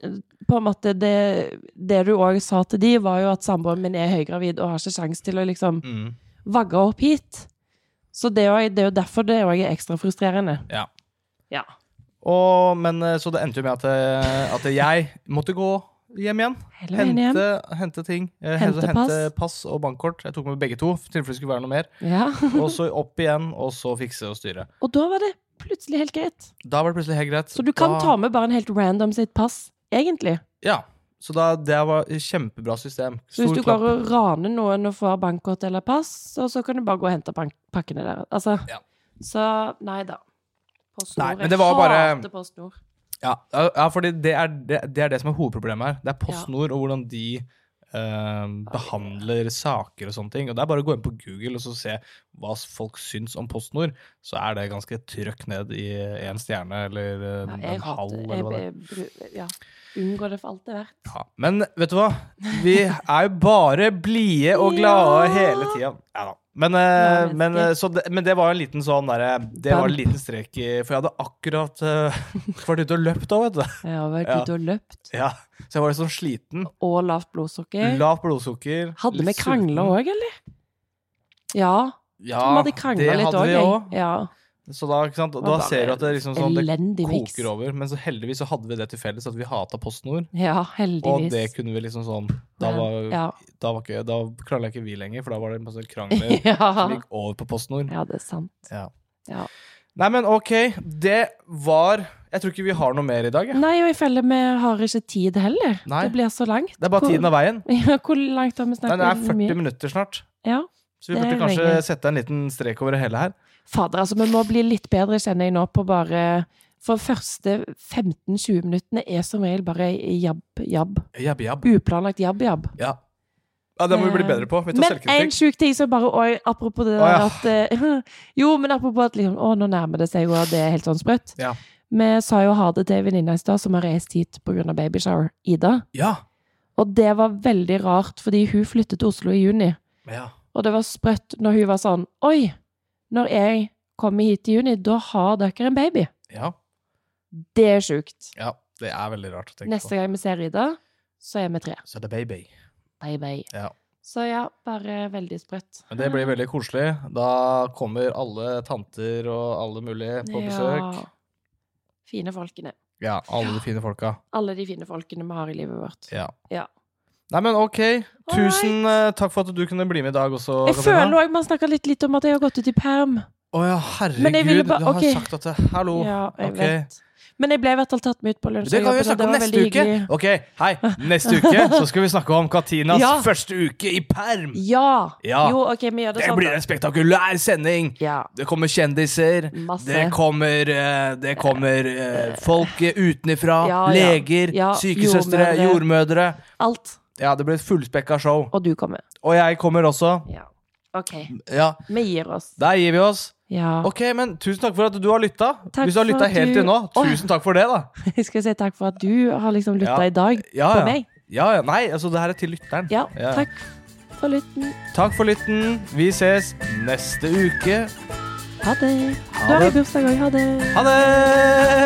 på en måte det, det du òg sa til de, var jo at samboeren min er høygravid og har ikke sjanse til å liksom
Mm.
vagge opp hit. Så det er jo- det er jo derfor det òg er ekstra frustrerende.
Ja.
Ja.
Og, men, eh, så det endte jo med at, eh, at jeg måtte gå hjem igjen.
Hele veien hjem.
Hente, hente ting. eh,
Hente
hente,
pass.
hente pass og bankkort. Jeg tok med begge to, i tilfelle det skulle være
*laughs*
noe mer.
Ja.
Og så opp igjen, og så fikse og styre.
Og da var det plutselig helt greit.
Da var det plutselig helt greit.
Så du kan
da,
ta med bare en helt random sitt pass, egentlig.
Ja, så da, det var et kjempebra system.
Så
Stor
hvis du
klapp.
går og raner noen og får bankkort eller pass, så, så kan du bare gå og hente bank pakkene der. Altså,
Ja.
Så nei da.
Nei,
PostNord.
men det var bare-
Jeg hater PostNord.
Ja, ja for det, det, er, det, det er det som er hovedproblemet her. Det er PostNord og hvordan de eh, behandler saker og sånne ting. Og det er bare å gå inn på Google og så se hva folk syns om PostNord, så er det ganske trøkk ned i én stjerne eller eh,
Ja, jeg
en halv
hater
eller hva det er.
jeg, bru- Ja. Unngå det for alt det er verdt.
Ja. Men vet du hva? Vi er jo bare blide og glade
*laughs* Ja.
hele tida. Ja da. Men, eh,
Glade
men, eh, så det, men det var jo en liten sånn derre Det var en
Bump.
liten strek i For jeg hadde akkurat eh, *laughs* vært ute og løpt òg, vet du.
Jeg har vært
*laughs* Ja.
ute og løpt.
Ja, så jeg var litt sånn sliten.
Og lavt blodsukker.
Lavt blodsukker.
Hadde vi
litt
krangla
sulten.
òg, eller? Ja.
Ja,
Vi hadde krangla litt òg, jeg.
også.
Ja.
Så da, ikke sant?
Det
da
var
ser du
bare
at det, liksom sånn, det
Elendig miks.
koker over. Men så heldigvis så hadde vi det til felles at vi hata PostNord.
Ja,
Og
heldigvis.
det kunne vi liksom sånn Da, var,
*laughs* ja.
da, var ikke, da krangla ikke vi lenger, for da var det masse krangler som
*laughs* ja.
gikk over på PostNord.
ja, det er sant.
Ja.
Ja.
Nei, men OK. Det var Jeg tror ikke vi har noe mer i dag. Jeg.
Nei, og jeg føler vi har ikke tid heller.
Nei.
Det blir så langt. *laughs*
Det er bare tiden av veien.
Ja, hvor langt har vi
Nei,
snakket?
det er
Hvor mye?
40 minutter snart.
Ja.
Så vi
Det er
burde kanskje
lenge.
sette en liten strek over det hele her.
Fader, altså, vi må bli litt bedre, kjenner jeg nå, på bare For første 15-20 minuttene er som regel bare jabb, jabb.
Jabb, jabb.
Uplanlagt jabb, jabb.
Ja. ja, det må vi bli bedre på. Vi tar
Eh, Men en
selvkritikk.
sjuk ting som bare oi, Apropos det
Å,
der
ja.
at eh, *laughs* Jo, men apropos at liksom, å, nå nærmer det seg jo, og det er helt sånn sprøtt.
Ja.
Vi sa jo ha det til ei venninne i stad som har reist hit pga. babyshower, Ida.
Ja.
Og det var veldig rart, fordi hun flyttet til Oslo i juni.
ja.
Og det var sprøtt når hun var sånn Oi, når jeg kommer hit i juni, da har dere en baby.
Ja.
Det er sjukt.
ja. Det er veldig rart å tenke
Neste gang vi ser Ida, så er vi tre.
på. Så er det baby.
Bye, bye.
Ja.
Så ja, bare veldig sprøtt.
Men det blir veldig koselig. Da kommer alle tanter og alle mulige på besøk.
Ja. Fine folkene.
Ja, alle de fine folka.
Alle de fine folkene vi har i livet vårt.
Ja.
Ja.
Nei, men ok. Tusen eh, takk for at du kunne bli med i dag også,
Jeg føler òg man snakker litt, litt om at jeg har gått ut i perm.
Å ja,
Men jeg ville
herregud.
ba-
Du har
ok.
sagt at det Hallo.
Ja, jeg
Oh, ok.
vet. Men jeg ble i hvert fall tatt med ut på lunsj.
Det kan vi jo
så
snakke om
var
neste
veldig
uke.
hyggelig.
Ok, hei. Neste uke så skal vi snakke om Katinas
*laughs* Ja.
første uke i perm.
Ja.
Ja.
Jo, OK, vi gjør det,
Det
sånn.
blir
da.
en spektakulær sending.
Ja.
Det kommer kjendiser.
Masse.
Det kommer, eh, det kommer eh, folk eh, utenifra.
Ja, ja.
Leger,
Ja,
sykesøstre,
jordmødre.
jordmødre.
Alt.
Ja, det blir et fullspekka show.
Og du kommer.
Og jeg kommer også.
Ja. OK.
Ja,
Vi gir oss.
der gir vi oss.
Ja.
Ok, men tusen takk for at du har lytta.
Takk
Hvis du har
for
lytta
at
helt
du-
til nå,
Åh.
tusen takk for det, da.
Jeg *laughs* skal si takk for at du har liksom
Ja.
lytta i dag
Ja,
på
ja.
meg.
Ja, ja. Nei, altså, det her er til lytteren.
Ja,
Ja.
takk for lytten.
Takk for lytten. Vi ses neste uke.
Ha det.
Ha
Du har
det.
jo bursdag òg. Ha det.
Ha det!